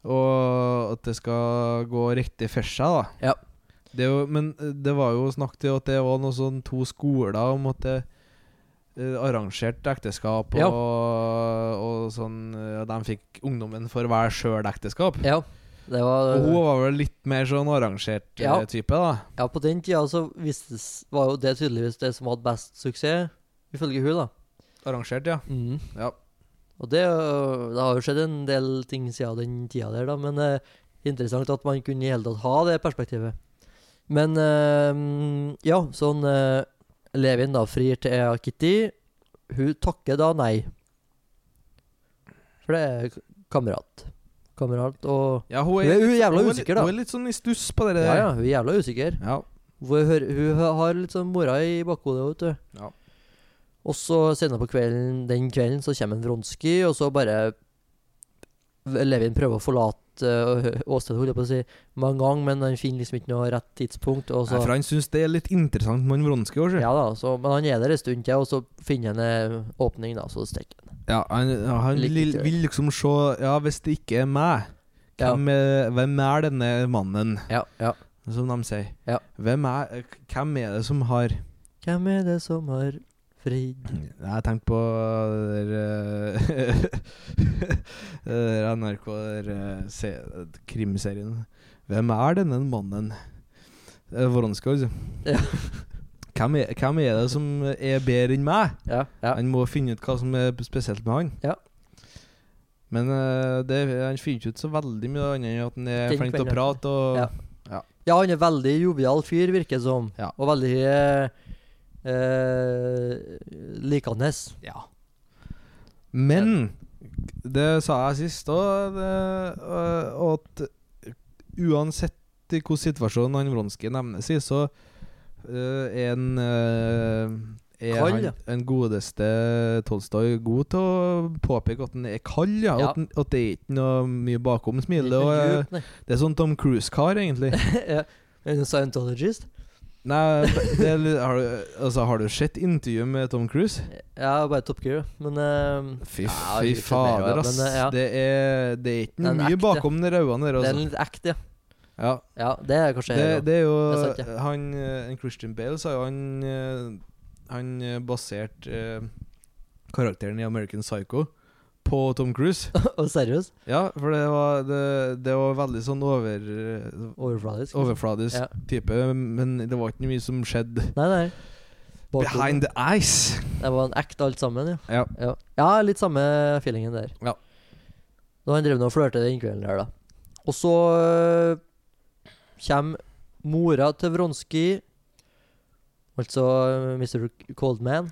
C: Og at det skal gå riktig for seg, da.
B: Ja.
C: Det er jo, men eh, det var jo snakk til at det var noe sånn to skoler om at det eh, arrangert ekteskap,
B: Ja.
C: og, og sånn eh, De fikk ungdommen for hver sjøl ekteskap.
B: Ja, det var
C: Og hun var vel litt mer sånn arrangert eh,
B: Ja.
C: type, da.
B: Ja, på den tida så vistes, var jo det tydeligvis det som hadde best suksess, ifølge hun da.
C: Arrangert, ja. Ja.
B: Og det, øh, det har jo skjedd en del ting siden den tida der, da, men eh, interessant at man kunne i hele tatt ha det perspektivet. Men eh, ja, sånn eh, Levin da frir til Ea Kitty. Hun takker da nei. For det er k- kamerat. Kamerat og
C: ja hun
B: Hun er,
C: er,
B: hun er jævla
C: hun er litt-
B: usikker, da.
C: Hun er litt sånn i stuss på
B: Ja,
C: det der.
B: ja, hun er jævla usikker.
C: ja.
B: Hvor hun, hun har litt sånn mora i bakhodet, vet du.
C: Ja.
B: Og så senere på kvelden, den kvelden så kommer en Vronskij, og så bare Levin prøver å forlate øh, åstedet, holdt jeg på å si, mange ganger, men han finner liksom ikke noe rett tidspunkt. Og så,
C: Nei, for han syns det er litt interessant med han Vronskij òg, sjø.
B: ja, da, så, men han er der en stund til, og så finner han en åpning, da, så stikker han.
C: Ja, han, ja, han
B: Litt
C: vil,
B: interessant.
C: vil liksom se Ja, hvis det ikke er meg,
B: Ja.
C: hvem, er- hvem er denne mannen,
B: Ja, ja.
C: som de sier?
B: Ja.
C: Hvem, er, hvem er det som har
B: Hvem er det som har fridd
C: Jeg tenkte på det der, eh, det (laughs) der NRK der, eh, se, krimserien. Hvem er denne mannen? Eh, Voronskoj. altså.
B: Ja.
C: (laughs) Hvem, er, hvem er det som er bedre enn meg?
B: Ja, ja.
C: Han må finne ut hva som er spesielt med han.
B: Ja.
C: Men eh, det, han finner ikke ut så veldig mye annet enn at han er
B: Den
C: flink til å
B: kvelden.
C: prate. Og,
B: Ja. Ja, han er veldig jovial fyr, virker det som.
C: Ja.
B: Og veldig eh, eh, likende.
C: Ja. Men det sa jeg sist òg, at uansett i hvilken situasjon han Vronskij nevnes i, så eh, er han eh, er
B: Kald,
C: han,
B: ja.
C: en godeste Tolstoy god til å påpeke at han er kald, ja.
B: Ja.
C: At, han- at det er ikke noe mye bakom smilet. Og, eh,
B: Djup, nei. (laughs)
C: det er sånn Tom Cruise-kar, egentlig.
B: Ja. Er du scientologist?
C: Nei, det, er litt- har, du, altså, har du sett intervjuet med Tom Cruise?
B: Ja, bare Top Gear, men eh,
C: Fy,
B: Ja,
C: fy
B: litt mer,
C: fader,
B: ja,
C: ass.
B: men, eh, ja.
C: det, er, det er ikke
B: Den
C: mye
B: ekte.
C: bakom de øynene der,
B: det er
C: altså.
B: litt ekte, ja.
C: Ja.
B: Ja, det er kanskje
C: Det,
B: her, da.
C: det er
B: Det er sant,
C: jo han, eh, en Christian Bale sa jo han eh, Han eh, baserte eh, karakteren i American Psycho på Tom Cruise.
B: (laughs) Og seriøst,
C: Ja, for det var, det, det var veldig sånn over eh,
B: overfladisk.
C: overfladisk
B: Ja.
C: type, men det var ikke mye som skjedde
B: Nei, nei. Bakgrunnen.
C: behind the eyes.
B: Det var en ekte alt sammen, ja.
C: Ja.
B: Ja, ja litt samme feelingen der.
C: Ja.
B: Da han drev nå og flørte den kvelden der, da. Og så øh, kommer mora til Vronskij, altså øh, Mr. Coldman,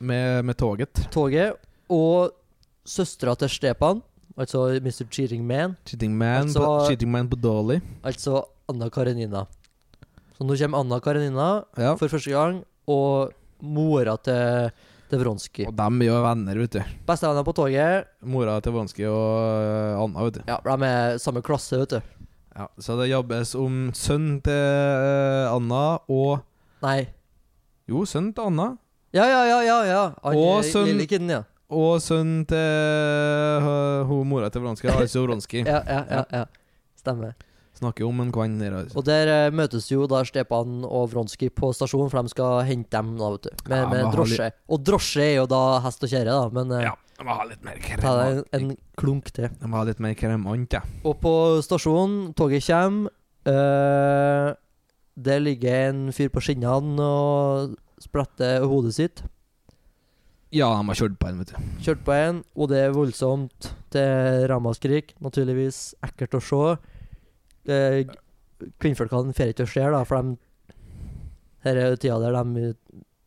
C: Med, med toget.
B: toget, og søstera til Stepan, altså Mr. Cheating Man,
C: Cheating man,
B: Altså-
C: på, cheating man på Dolly.
B: altså Anna Karenina. Så nå kommer Anna Karenina
C: Ja.
B: for første gang, og mora til, til Vronskij.
C: Og dem er jo venner, vet du.
B: Bestevenner på toget.
C: Mora til Vronskij og eh, Anna, vet du.
B: Ja, de er samme klasse, vet du.
C: Ja, så det jobbes om sønnen til eh, Anna og
B: Nei,
C: Jo, sønnen til Anna.
B: Ja, ja, ja, ja, ja. Han
C: Og
B: er
C: sønn-
B: lille kiden, ja.
C: Og sønnen til eh, hun mora til Vronskij, altså Vronskij.
B: Ja, ja, ja, ja. Stemmer.
C: Så Snakker om en kvann der, altså.
B: Og der eh, møtes jo da Stepan og Vronskij på stasjonen, for de skal hente dem da, vet du. Med,
C: Ja,
B: med
C: må ha
B: drosje. Og drosje er jo da hest og kjerre, da, men eh,
C: Ja, jeg må ha litt mer
B: ta deg
C: kremant.
B: en, en klunk til.
C: Jeg må ha litt mer kremant, jeg.
B: Og på stasjonen, toget kommer. eh, der ligger en fyr på skinnene og spretter hodet sitt.
C: Ja, de har kjørt på den, vet du.
B: Kjørt på en, og det er voldsomt. Det er ramaskrik, naturligvis. Ekkelt å se. Eh, kvinnfolkene får ikke å se, da, for de Denne tida der de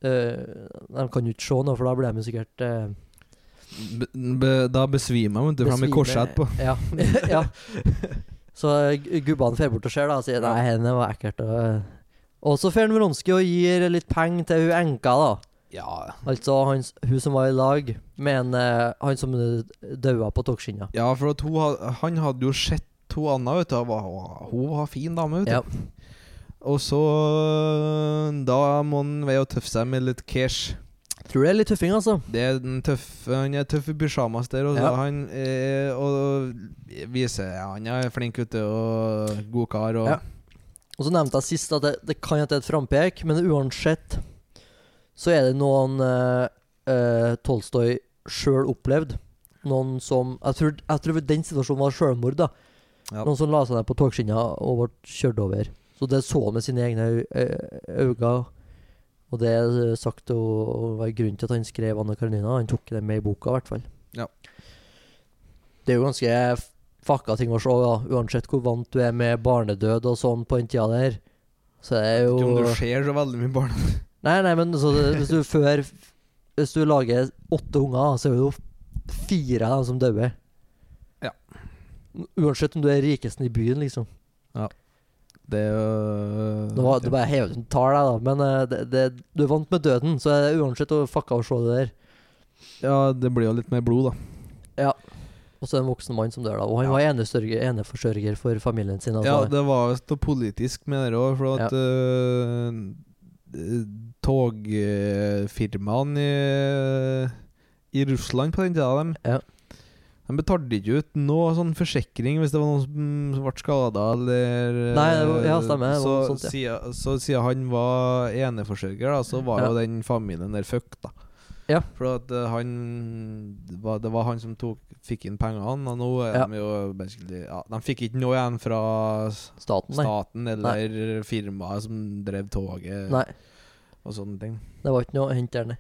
B: eh, De kan jo ikke se noe, for da blir de jo sikkert eh,
C: B b da besvimer de, vet du, for de har
B: besvime.
C: korsett på.
B: Ja. (laughs) ja. Så eh, gu- gubbene får bort og ser, da, og sier nei, henne var ekkelt. Og, og så får Vronskij og gir litt penger til hun enka, da.
C: Ja,
B: Altså hans, hun som var i lag med en, eh, han som eh, daua på togskinna.
C: ja for at hun, ha- han hadde jo sett to Anna, vet du. og var- Hun var fin dame, vet du.
B: Ja.
C: Og så Da må han veie og tøffe seg med litt cash.
B: Tror det er litt tøffing, altså.
C: Det er den tøffe, han er tøff i pysjamas der, og, så
B: Ja.
C: han, eh, og viser ja, han er flink ute og god kar. Og,
B: Ja. Og så nevnte jeg sist at det, det kan hende det er et frampek, men uansett så er det noen eh, eh, Tolstoy sjøl opplevd. Noen som Jeg tror, jeg tror den situasjonen var sjølmord, da.
C: Ja.
B: Noen som la seg ned på togskinna og ble kjørt over. Så det så han med sine egne øy- øy- øyne. Og det er eh, sagt å å være grunnen til at han skrev Anna Karenina. Han tok det med i boka, i hvert fall.
C: Ja.
B: Det er jo ganske f- fucka ting å se, da. Uansett hvor vant du er med barnedød og sånn på den tida der. Så det er
C: Ikke om
B: jo
C: du ser så veldig mye barn.
B: Nei, nei, men altså, det- hvis du før Hvis du lager åtte unger, så er det jo fire av dem som dauer.
C: Ja.
B: Uansett om du er rikesten i byen, liksom.
C: Det er jo
B: Nå var det bare hevet ut tall, jeg, da, men eh, det, det, du er vant med døden, så det er uansett å fucka å se det der.
C: Ja, det blir jo litt mer blod, da.
B: Og så er det en voksen mann som dør, da. Og han
C: Ja.
B: var enestørger- eneforsørger for familien sin. Altså.
C: ja, det var visst noe politisk med det òg, for at eh, Togfirmaene i, i Russland på den tida, dem
B: Ja.
C: De betalte ikke ut noe sånn forsikring hvis det var noen som som ble skada eller
B: Nei, det var- ja,
C: eh,
B: stemmer, det
C: Så,
B: var noe sånt, ja.
C: siden, så siden han var eneforsørger, da, så var
B: Ja.
C: jo den familien der fucked, da.
B: Ja.
C: For at eh, han det var, Det var han som tok, fikk inn pengene, og nå er
B: Ja.
C: de jo basically ja, De fikk ikke noe igjen fra s-
B: Staten, nei.
C: staten eller firmaet som drev toget
B: nei.
C: og sånne ting.
B: Det var ikke noe å hente der, nei.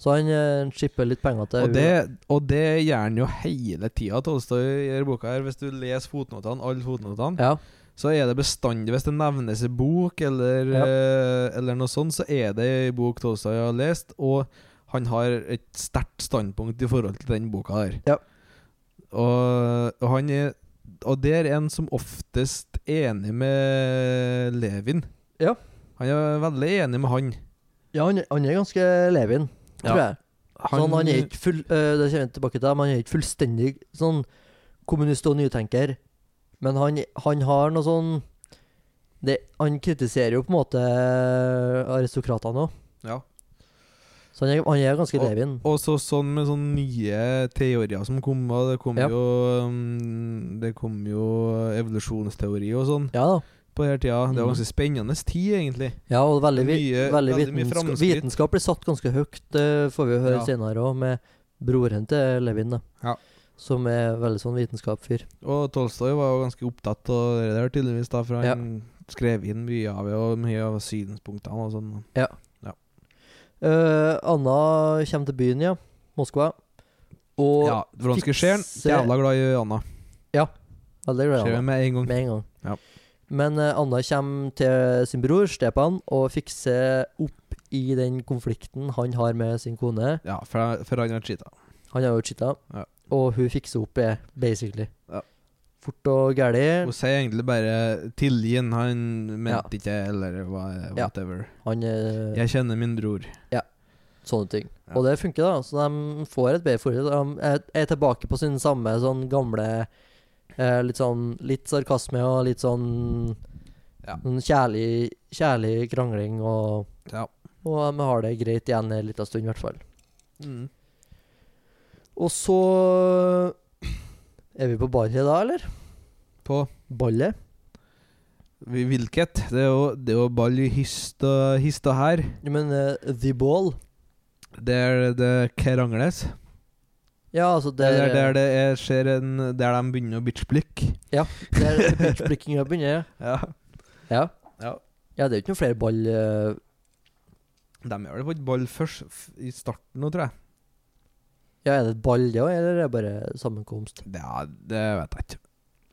B: Så han eh, skipper litt penger til
C: Og det, og det gjør han jo hele tida, Tolstoy, i denne boka. her Hvis du leser fotnotene, alle fotnotene,
B: Ja.
C: så er det bestandig Hvis det nevnes en bok eller,
B: Ja.
C: eh, eller noe sånt, så er det en bok Tolstoy har lest, og han har et sterkt standpunkt i forhold til den boka her.
B: Ja.
C: Og, og han er Og det er en som oftest enig med Levin.
B: Ja.
C: Han er veldig enig med han.
B: ja, han, han er ganske Levin,
C: Ja.
B: tror jeg. sånn, han er ikke full, eh, det kommer jeg tilbake til, men han er ikke fullstendig sånn kommunist og nytenker. Men han, han har noe sånn det, Han kritiserer jo på en måte eh, aristokratene òg,
C: ja.
B: så han er, han er ganske
C: Og-
B: Levin.
C: Og så sånn med sånne nye teorier som kom, og det kom
B: Ja.
C: jo um, Det kom jo evolusjonsteori og sånn
B: Ja da.
C: på denne tida. Det
B: Mhm.
C: var ganske spennende tid, egentlig.
B: Ja, og veldig, vi-
C: Mye-
B: veldig,
C: veldig mye
B: vitenskap,
C: framskritt.
B: vitenskap blir satt ganske høyt, det får vi jo høre
C: Ja.
B: senere òg, med broren til Levin, da.
C: Ja.
B: Som er veldig sånn vitenskapsfyr.
C: Og Tolstoy var jo ganske opptatt av det der, tydeligvis, da, for
B: Ja.
C: han skrev inn mye av det, og mye av synspunktene og sånn.
B: Eh, Anna kommer til byen, ja. Moskva. Og
C: ja, Vronskij ser han.
B: fikse-
C: Jævla glad i Anna.
B: Veldig glad i
C: Ser
B: Anna.
C: det med en gang.
B: Med en gang.
C: Ja.
B: Men eh, Anna kommer til sin bror, Stepan, og fikser opp i den konflikten han har med sin kone.
C: Ja, for, for han har cheata.
B: Han har jo cheata,
C: Ja.
B: og hun fikser opp, eh, basically.
C: Ja.
B: Fort og gæli.
C: Hun sier egentlig bare 'tilgi han', han mente ikke eller hva,
B: Ja.
C: whatever.
B: Han eh,
C: Jeg kjenner min bror.
B: Sånne ting.
C: Ja.
B: Og det funker, da. Så de får et bedre forhold. De er- er tilbake på sin samme sånn gamle eh, Litt sånn Litt sarkasme og litt sånn
C: Ja.
B: sånn kjærlig, kjærlig krangling, og,
C: Ja.
B: og de har det greit igjen en liten stund, i hvert fall. Mm. Og eh, så Er vi på ballet da, eller?
C: På
B: Ballet?
C: Vi- Hvilket? Det er jo, det er jo ball i hist og, hist og her.
B: Men eh, The Ball
C: Der det krangles.
B: Ja, altså
C: Der,
B: der,
C: der det er, skjer en Der de begynner å bitchblikke.
B: der (laughs) pitchblikkinga begynner.
C: Ja.
B: Ja.
C: Ja.
B: ja, det er jo ikke noen flere ball eh,
C: De gjør det på et ball først, f i starten nå, tror jeg.
B: Ja, er det et ball det òg, eller er det bare sammenkomst?
C: Det, det vet jeg ikke.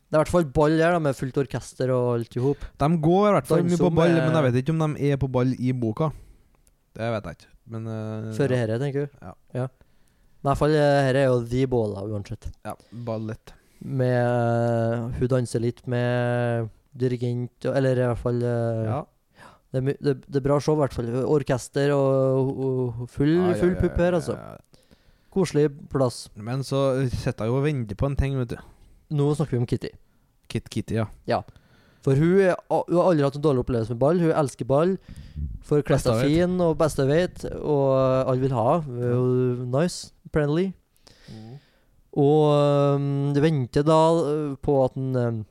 B: Det er i hvert fall et ball der, da, med fullt orkester og alt i hop.
C: De går i hvert fall
B: Den
C: mye på
B: som
C: ball,
B: er-
C: men jeg vet ikke om de er på ball i boka. Det vet jeg ikke. Men eh,
B: Før
C: ja.
B: dette, tenker du?
C: Ja.
B: Men i hvert fall, eh, her er jo the baller, uansett.
C: ja, ballett.
B: Med eh, Hun danser litt med dirigent, og- eller i hvert fall eh,
C: Ja.
B: det, er my- det, det er bra show, i hvert fall. Orkester og, og full,
C: Ja, ja,
B: full
C: ja,
B: pupp
C: ja,
B: her,
C: ja,
B: altså.
C: ja.
B: Koselig plass.
C: Men så sitter jeg jo og venter på en ting, vet du.
B: Nå snakker vi om Kitty.
C: Kit Kitty, ja.
B: For hun, er, a- hun har aldri hatt en dårlig opplevelse med ball. Hun elsker ball. Får kledd seg
C: Beste jeg
B: fin og beste hun vet, og eh, alle vil ha. Hun er jo nice, apparently.
C: Mm.
B: Og øhm, det venter da øh, på at den øhm,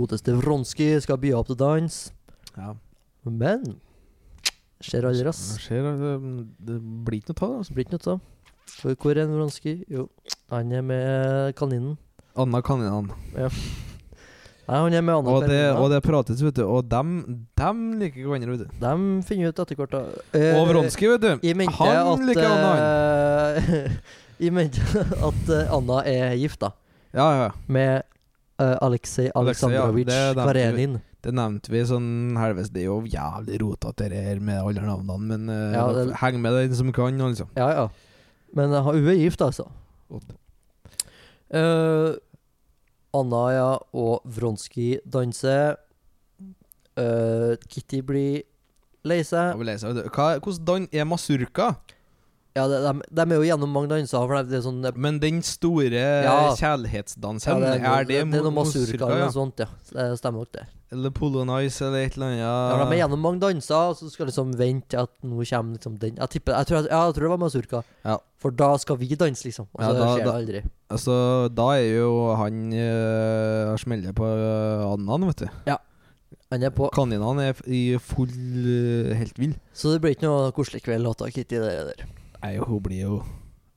B: godeste Vronsky skal by opp til dans.
C: ja.
B: Men skjer aldri, ass.
C: Det skjer, det, det blir ikke noe altså. av det.
B: Det blir ikke noe av. For hvor er en Vronsky? Jo, han er med kaninen.
C: altså. Anna kaninene.
B: Nei, han er med Anna
C: Og, det- og
B: Karenina.
C: det prates, vet du. Og dem, dem liker hverandre, vet du.
B: De finner ut etter hvert, da. Eh,
C: Og Vronsky, vet du.
B: I mente
C: Han
B: at
C: liker Anna, han.
B: eh, (laughs) I mente at eh, Anna er gift, da.
C: Ja, ja. ja.
B: Med eh, Aleksej
C: Aleksej, ja,
B: Aleksandrovitsj
C: det er dem-
B: Karenin.
C: Det nevnte vi sånn helvetes Det er jo jævlig rotete, det her med alle navnene, men eh,
B: Ja, det-
C: heng med den som kan, altså.
B: Ja, ja. Men eh, hun er gift, altså.
C: Godt.
B: Eh, Anna ja, og Vronsky danser. Eh, Kitty blir lei
C: Jeg
B: seg.
C: vil lese, vet du. Hva, hvordan dan er masurka?
B: Ja, de, de, de er jo gjennom mange danser. For det er sånn eh,
C: Men den store
B: Ja. ja,
C: kjærlighetsdansen,
B: det,
C: er det,
B: det er noe masurka eller
C: ja?
B: noe sånt, ja. Det stemmer nok, det.
C: Eller Polonice eller et eller annet?
B: Ja, de er gjennom mange danser, og så skal liksom vente at nå kommer liksom den Jeg, tipper, jeg, tror, ja, jeg tror det var Mazurka.
C: Ja.
B: For da skal vi danse, liksom. Og
C: Ja,
B: så
C: da-
B: skjer det
C: da-
B: aldri.
C: Altså, da er jo han uh, smeller på uh, Annan, vet du.
B: Han er på.
C: Kaninene er f- i full eh, helt vill.
B: Så det blir ikke noe koselig kveld låta Kitty det der.
C: Nei, hun blir jo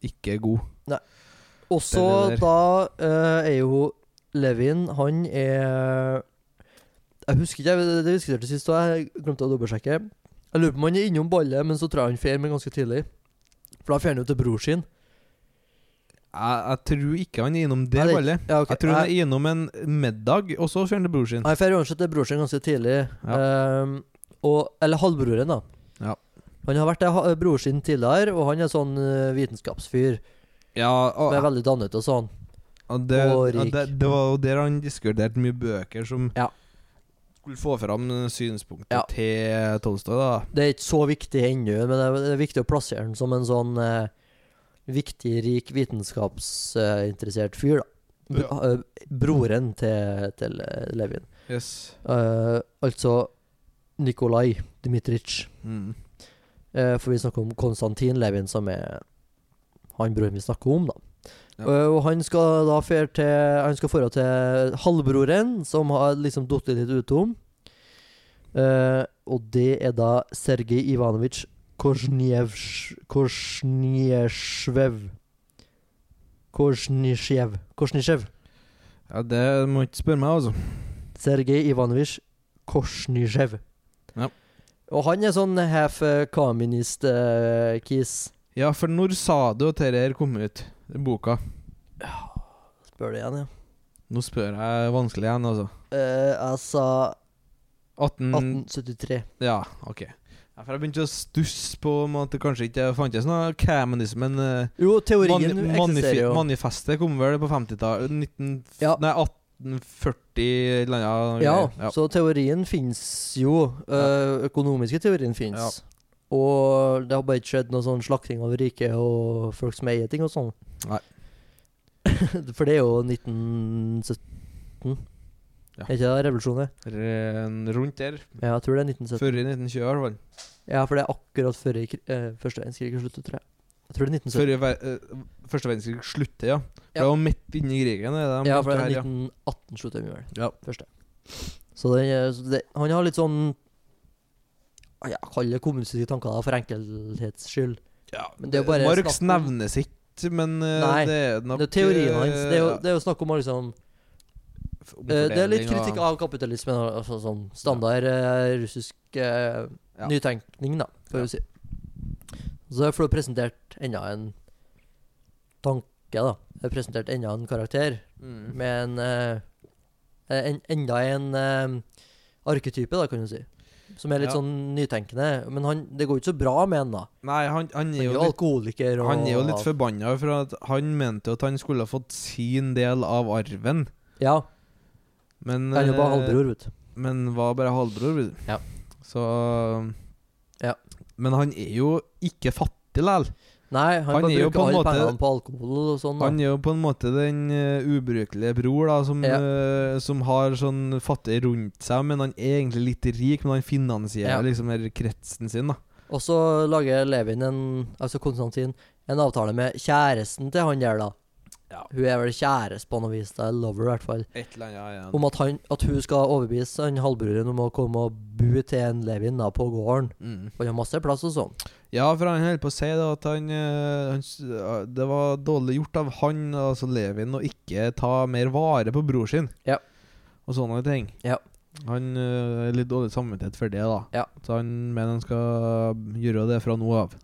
C: ikke god.
B: Og så
C: Det er det der.
B: da eh, er jo Levin Han er Jeg husker ikke, jeg- det diskuterte sist, og jeg glemte å dobbeltsjekke. Jeg lurer på om han er innom ballet, men så tror jeg han fer, men ganske tidlig. For da fer han jo til bror sin.
C: Jeg, jeg tror ikke han er innom det
B: Nei, det-
C: ballet.
B: Ja, ok.
C: Jeg tror han er innom en middag, og så ser han til bror sin.
B: Han drar uansett til bror sin ganske tidlig. Ehm, og, eller halvbroren, da.
C: Ja.
B: Han har vært til ha- bror sin tidligere, og han er sånn eh, vitenskapsfyr.
C: Ja, og,
B: Som er veldig dannet og sånn.
C: og det,
B: og
C: ja,
B: rik.
C: det, det var jo der han diskuterte mye bøker som
B: Ja.
C: skulle få fram synspunktet
B: Ja.
C: til Tolstoy, da.
B: Det er ikke så viktig ennå, men det er, det er viktig å plassere han som en sånn eh, viktig, rik, vitenskapsinteressert fyr, da. Br eh, broren til, til eh, Levin.
C: Yes.
B: Eh, altså Nikolai Dmitrij.
C: Mm.
B: Eh, for vi snakker om Konstantin Levin, som er han broren vi snakker om, da.
C: Ja.
B: Eh, og han skal da fer til Han skal dra til halvbroren, som har liksom falt litt utom. Eh, og det er da Sergej Ivanovitsj Korsnjevsj- Korsnjesjvev. Korsnisjev. Korsnisjev.
C: Ja, det må ikke spørre meg, altså.
B: Sergej Ivanovitsj Korsnisjev.
C: Ja.
B: Og han er sånn eh, half-kaminist-kis.
C: Ja, for når sa du at dette her kom ut? Boka.
B: Spør du igjen, ja.
C: Nå spør jeg vanskelig igjen, altså.
B: Eh, jeg sa
C: 18,
B: 1873.
C: Ja, OK. Ja, for jeg begynte å stusse på om at det kanskje ikke fantes noe Camonism, men eh,
B: Jo, teorien
C: mani manife-
B: eksisterer jo.
C: manifestet kom vel på 50-tallet? 19...
B: Ja.
C: Nei, 1840 eller annet.
B: ja,
C: ja.
B: så teorien finnes jo. eh, økonomiske teorien finnes. Og det har bare ikke skjedd noe sånn slakting av rike og folk som eier ting og sånn.
C: Nei.
B: (laughs) For det er jo 1917.
C: Ja. Mm.
B: Er ikke det revolusjonen? er?
C: Ren- Rundt der.
B: Ja, jeg tror det er 1917.
C: Før i 1920, i hvert fall.
B: Ja, for det er akkurat før i kri- eh, første verdenskrig sluttet, tror jeg. Jeg tror det er 1917.
C: Før i ver- eh, første verdenskrig slutter, ja. For
B: Ja.
C: Det var midt inni krigen. det er de
B: Ja,
C: måtte
B: for det
C: her,
B: er 1918 sluttet vi vel.
C: Ja.
B: Første. Så den, er- så det, han har litt sånn ah, Ja, kall det kommunistiske tanker, da, for enkelhets skyld.
C: Ja,
B: Men det er jo bare
C: Marx
B: snakk om-
C: nevnes ikke, men eh,
B: Nei,
C: det er nok
B: det er teorien
C: eh,
B: hans. Det er, jo,
C: ja,
B: det er jo snakk om å liksom Eh, Det er litt kritikk av kapitalismen. og- Altså, sånn standard eh, russisk eh,
C: Ja.
B: nytenkning, da, får
C: Ja.
B: vi si. Så jeg får presentert enda en tanke, da. Jeg har presentert enda en karakter
C: mm.
B: med en, eh, en Enda en eh, arketype, da, kan du si. Som er litt
C: Ja.
B: sånn nytenkende. Men han, det går jo ikke så bra med han, da.
C: Nei, han,
B: Han
C: han er jo litt
B: alkoholiker og
C: Han er jo litt forbanna, for at han mente jo at han skulle ha fått sin del av arven.
B: Ja.
C: Men,
B: Han er jo bare
C: eh,
B: halvbror, vet du.
C: men var bare halvbror. vet du.
B: Ja.
C: Så
B: Ja.
C: Men han er jo ikke fattig likevel.
B: Nei, han,
C: han
B: bare
C: er jo
B: bruker
C: på en
B: alle pengene
C: måte-
B: på alkohol og sånn. da.
C: Han er jo på en måte den eh, ubrukelige bror da som,
B: Ja.
C: eh, som har sånn fattig rundt seg, men han er egentlig litt rik. Men han finansierer
B: Ja.
C: liksom her kretsen sin, da.
B: Og så lager Levin, en, altså Konstantin, en avtale med kjæresten til han der, da.
C: Ja.
B: Hun er vel kjæreste på noe vis, da, eller lover i hvert fall.
C: Et eller annet, ja,
B: Om at, han, at hun skal overbevise han halvbroren om å komme og bo til en Levin da, på gården.
C: Mm.
B: For han har masse plass og sånn.
C: Ja, for han holder på å si da at han, eh, han s- eh, Det var dårlig gjort av han, altså Levin, å ikke ta mer vare på bror sin.
B: Ja.
C: Og sånne ting.
B: Ja.
C: Han eh, er litt dårlig samvittighet for det, da.
B: Ja.
C: Så han mener han skal gjøre det fra nå av.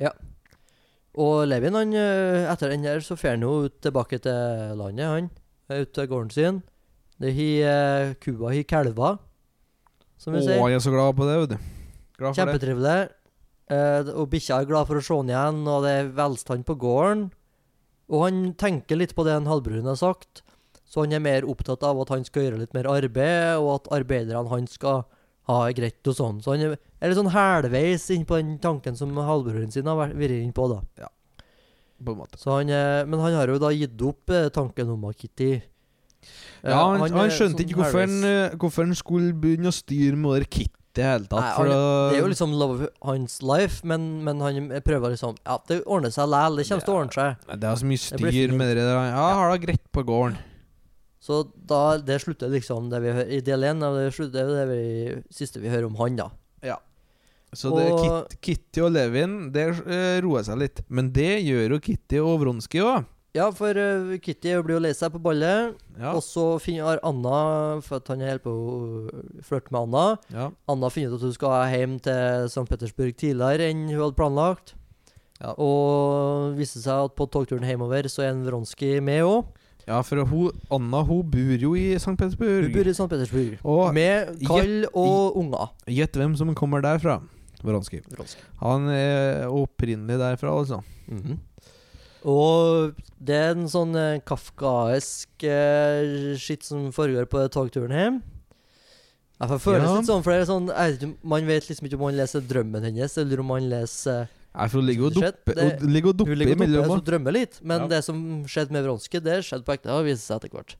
B: Og Levin, han, eh, etter den der, så fer han jo ut tilbake til landet, han. Eh, Ut til gården sin. Det eh, har kua, har kalver, som vi
C: Å,
B: sier.
C: jeg er så glad på det, vet du. Glad for det.
B: Kjempetrivelig. Eh, og bikkja er glad for å se han igjen, og det er velstand på gården. Og han tenker litt på det han halvbroren har sagt, så han er mer opptatt av at han skal gjøre litt mer arbeid, og at arbeiderne han skal ha det greit og sånn. Så han er er litt sånn halvveis inn på den tanken som halvbroren sin har vært- vært inn på, da.
C: På en måte.
B: Så han, eh, men han har jo da gitt opp eh, tanken om Kitty. Eh,
C: Ja, han, han,
B: er
C: skjønte
B: sånn
C: ikke hvorfor han,
B: halvveis-
C: eh, hvorfor han skulle begynne å styre med det kittet i det hele tatt.
B: Nei,
C: for
B: han-
C: da-
B: Det er jo liksom love of hans life, men, men han prøver liksom Ja, det ordner seg læl, det kommer til å ordne seg.
C: Nei, det er så mye
B: Det blir
C: styr
B: fint.
C: med det der. Ja,
B: Ja.
C: har det greit på gården.
B: Så da, det slutter liksom det vi hører i del én, og det slutter det vi, siste vi hører om han, da.
C: Så det,
B: Og-
C: Kit, Kitty og Levin Det eh, roer seg litt. Men det gjør jo Kitty og Vronsky òg.
B: Ja, for eh, Kitty blir jo lei seg på ballet,
C: Ja.
B: og så finner Anna For at han holder på å flørte med Anna.
C: Ja.
B: Anna finner ut at hun skal hjem til St. Petersburg tidligere enn hun hadde planlagt.
C: Ja.
B: Og viser seg at på togturen hjemover så er en Vronsky med òg.
C: ja, for hun, Anna hun bor jo i St.
B: Hun bor
C: Petersburg.
B: i St. Petersburg.
C: Og
B: Med kall og unger.
C: gjett hvem som kommer derfra. Vronsky. Han er opprinnelig derfra, altså.
B: Og det er en sånn eh, kafkaesk eh, skitt som foregår på togturen hjem. Jeg får føles
C: Ja.
B: litt sånn, for det er sånn jeg vet ikke- Man vet liksom ikke om han leser drømmen hennes, eller om han leser
C: Nei, for hun ligger og
B: Det skjedde-
C: dupper
B: det-
C: hun ligger
B: Hun
C: og dupper
B: ligger og dupper, altså.
C: imellom.
B: så drømmer litt. Men
C: Ja.
B: det som skjedde med Vronsky, det skjedde på ekte og viser seg etter hvert.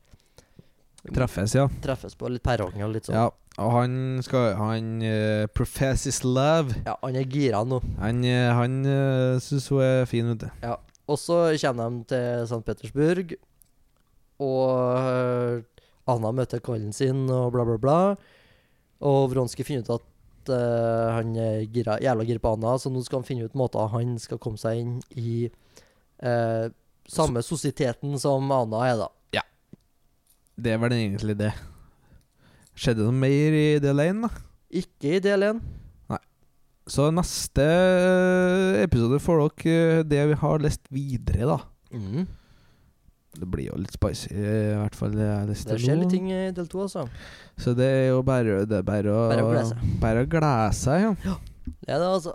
C: og Treffes, ja.
B: Treffes på litt pæreåkning og litt sånn.
C: Ja, og han skal Han eh, profess his love.
B: Ja, han er gira nå.
C: Han, eh, han eh, syns hun er fin, vet du.
B: Og så kommer de til St. Petersburg, og øh, Anna møter kallen sin, og bla, bla, bla. Og Vronsky finner ut at eh, han er gira, jævla gira på Anna, så nå skal han finne ut måter han skal komme seg inn i eh, samme sosieteten som Anna er, da.
C: Det er vel egentlig det. Skjedde det noe mer i del 1, da?
B: Ikke i del én.
C: Så neste eh, episode får dere eh, det vi har lest videre, da. Det blir jo litt spicy, i hvert fall det jeg leste
B: Det skjer litt ting i del to, altså.
C: Så det er jo bare, det er bare, å,
B: Bare å glede seg.
C: Bare å glede seg, ja.
B: Det er det, altså.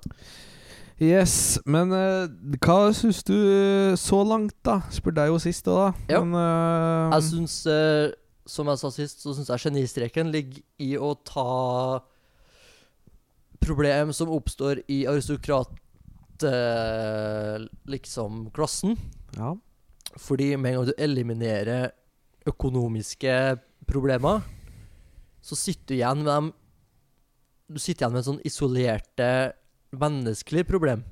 C: Yes, men eh, hva syns du eh, så langt, da? Spurte jeg jo sist òg, da.
B: Ja. Altså-
C: Men eh,
B: Jeg syns, som jeg sa sist, så syns jeg genistreken ligger i å ta problem som oppstår i aristokrat... eh, liksom klassen.
C: ja.
B: Fordi med en gang du eliminerer økonomiske problemer, så sitter du igjen med dem Du sitter igjen med sånn isolerte menneskelige problem.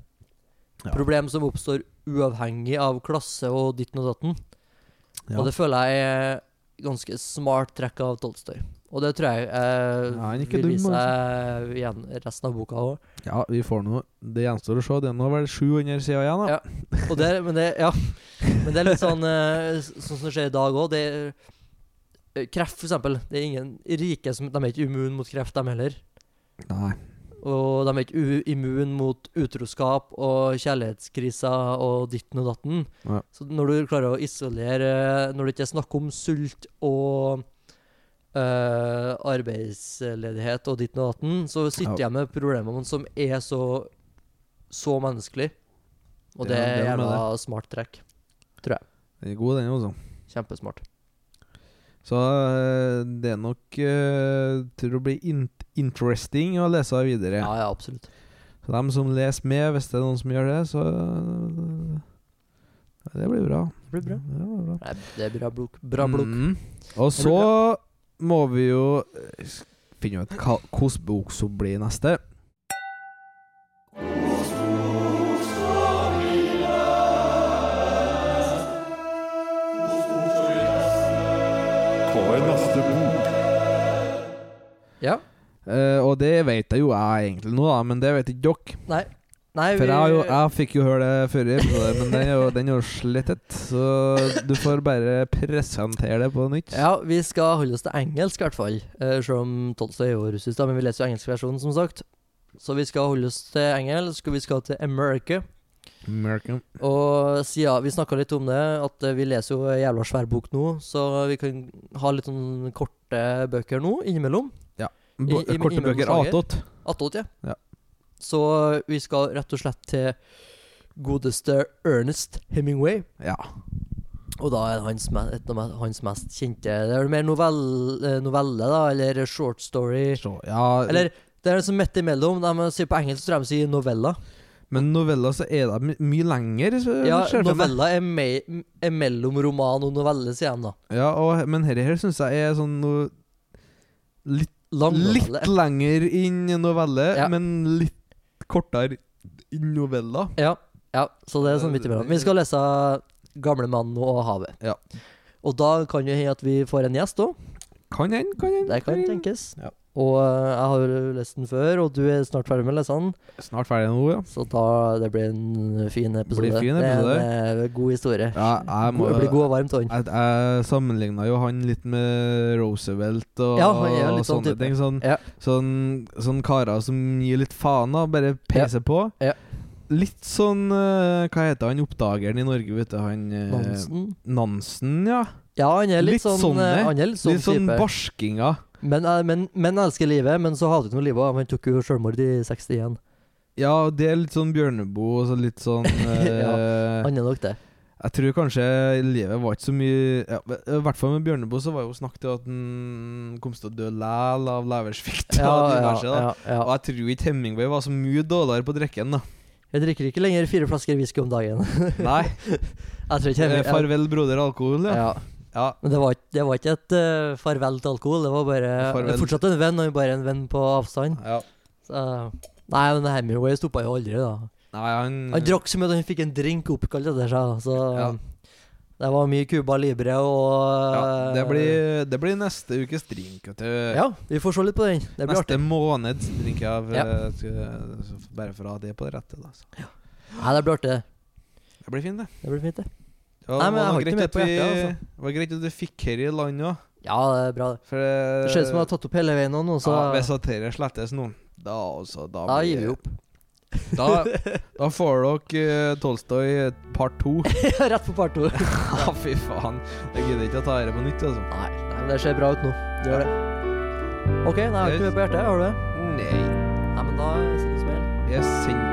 C: Ja.
B: Problem som oppstår uavhengig av klasse og ditten og datten.
C: ja.
B: Og det føler jeg er ganske smart trekk av Tolstoy. Og det tror jeg eh,
C: Ja, han er ikke
B: vil vise
C: dum, altså.
B: seg igjen resten av boka òg.
C: Ja, vi får nå Det gjenstår å se. Det er nå vel 700 sider igjen, da.
B: Ja. Og det, men det, ja. Men det er litt sånn eh, s- Sånn som det skjer i dag òg. Det er eh, Kreft, for eksempel. Det er ingen rike som De er ikke immune mot kreft, dem heller.
C: Nei.
B: Og de er ikke u- immune mot utroskap og kjærlighetskriser og ditten og datten.
C: Ja.
B: Så når du klarer å isolere Når det ikke er snakk om sult og eh, arbeidsledighet og ditten og datten, så sitter
C: Ja.
B: jeg med problemer som er så så menneskelig. Og det
C: Ja, det
B: er
C: er noe med
B: jævla smart trekk.
C: Den er god, den, altså.
B: Kjempesmart.
C: Så eh, det er nok eh, Tror det blir in interesting å lese videre.
B: Ja, ja, absolutt.
C: Så dem som leser med, hvis det er noen som gjør det, så eh, Det blir bra.
B: Det blir bra.
C: Det blir bra.
B: Nei, det blir bra blok. Bra blok.
C: Mm. Og
B: Det blir
C: så må vi jo eh, finne ut hva- hvilken bok som blir neste.
A: Hva er neste bok?
B: Ja.
C: Eh, og det vet jeg jo jeg egentlig nå, da, men det vet ikke dere.
B: Nei. Nei,
C: For jeg, har jo, jeg fikk jo høre det før, i episoden, men den er jo, den er jo slettet. Så du får bare presentere det på nytt.
B: Ja, vi skal holde oss til engelsk i hvert fall. eh, Selv om Tolstoy er jo russisk, da, men vi leser jo engelsk versjon, som sagt. Så vi skal holde oss til engelsk, og vi skal til America.
C: American.
B: Og siden vi snakka litt om det, at eh, vi leser jo en jævla svær bok nå, så vi kan ha litt sånn korte bøker nå innimellom. I-
C: Bo-
B: i- i-
C: Korte
B: med
C: bøker
B: sanger.
C: attåt.
B: Attåt, ja.
C: Ja.
B: Så vi skal rett og slett til godeste Ernest Hemingway.
C: Ja.
B: Og da er det hans, me- et av me- hans mest kjente Det er mer novell, eh, novelle, da, eller short story.
C: Så, ja.
B: Eller det er liksom midt imellom. De sier på engelsk tror jeg de sier novella.
C: men noveller så er det my mye lenger. så-
B: Ja,
C: ser jeg for meg.
B: novella er, me er mellom roman og novelle, sier de da.
C: ja og, men dette her syns jeg er sånn noe litt,
B: Lang
C: litt
B: novelle.
C: lenger inn novelle,
B: Ja.
C: men litt kortere inn novella.
B: Ja, ja, så det er sånn midt imellom. Vi skal lese 'Gamlemannen og havet'.
C: Ja.
B: Og da kan det hende at vi får en gjest òg.
C: Kan hende, kan hende.
B: Det kan
C: hende.
B: tenkes.
C: Ja.
B: Og eh, jeg har jo lest den før, og du er snart ferdig med å lese den.
C: Snart ferdig nå, ja.
B: Så da, det blir en eh, fin episode.
C: Blir fin
B: Det er en eh, god historie.
C: ja jeg må,
B: det blir god og varm tånn.
C: Jeg, jeg sammenligna jo han litt med Roosevelt og,
B: Ja, han er jo litt
C: og
B: sånn
C: sånne
B: type.
C: ting. Sånn,
B: Ja.
C: sånn, sånn karer som gir litt faen og bare peser på.
B: Ja.
C: Litt sånn eh, Hva heter han oppdageren i Norge, vet du? Han eh,
B: Nansen.
C: Nansen, ja.
B: Ja, han er litt,
C: litt
B: sånn,
C: sånn,
B: eh,
C: eh.
B: han er litt sånn
C: litt sånn
B: type.
C: barskinger.
B: Men, eh, men, men elsker livet, men så hater han jo livet òg. Han tok jo sjølmord i 61.
C: Ja, det er litt sånn Bjørneboe og så litt
B: (laughs)
C: sånn eh,
B: Han er nok det.
C: Jeg tror kanskje livet var ikke så mye ja, I hvert fall med Bjørneboe så var jo snakk til at han kom til å dø læl av leversvikt.
B: Ja,
C: og
B: ja,
C: diverse, da.
B: ja,
C: Og
B: ja.
C: jeg tror ikke Hemingway var så mye dårligere på
B: (laughs)
C: drikken, da.
B: Jeg drikker ikke lenger fire flasker whisky om dagen. (laughs)
C: Nei.
B: Jeg tror ikke
C: (laughs) eh,
B: jeg,
C: Farvel, broder alkohol, ja.
B: ja.
C: ja.
B: Men det var, ikke- det var ikke et eh, farvel til alkohol. Det var bare
C: Farvel.
B: fortsatt en venn, og bare en venn på avstand.
C: ja.
B: Så, nei, men Hemingway stoppa jo aldri, da.
C: Nei, han,
B: Han drakk så mye at han fikk en drink oppkalt etter seg. da, Så
C: Mm. Ja.
B: det var mye Cuba Libre og eh,
C: ja, det, blir, det blir neste ukes drink. Vet du.
B: Ja, vi får se litt på den. Det blir
C: neste måneds drink av
B: Ja.
C: eh, skal- så Bare for å ha det på det rette. Da. Så.
B: artig. Nei, det blir artig.
C: Det blir fint, det.
B: Det blir fint, det.
C: Ja,
B: Nei, men
C: det
B: jeg
C: var
B: har
C: greit
B: ikke mer
C: at
B: på
C: vi-
B: hjertet, altså.
C: Det var greit at du fikk her i land òg.
B: Ja, det er bra. det.
C: For det
B: Det ser ut som jeg har tatt opp hele veien nå, nå, så
C: Eh, ja, Hvis at dette slettes nå, da altså Da,
B: da
C: blir-
B: gir vi opp.
C: Da,
B: (laughs)
C: da får dere eh, Tolstoy part to.
B: (laughs) Rett på part to. Nei,
C: (laughs) Ja, fy faen. Jeg gidder ikke å ta dette på nytt, altså.
B: nei, men det ser bra ut nå. Det gjør det. OK, nei, jeg har ikke mer på hjertet. Har du det?
C: Nei.
B: Nei, men da ses vi mer.
C: Jeg sender sånn-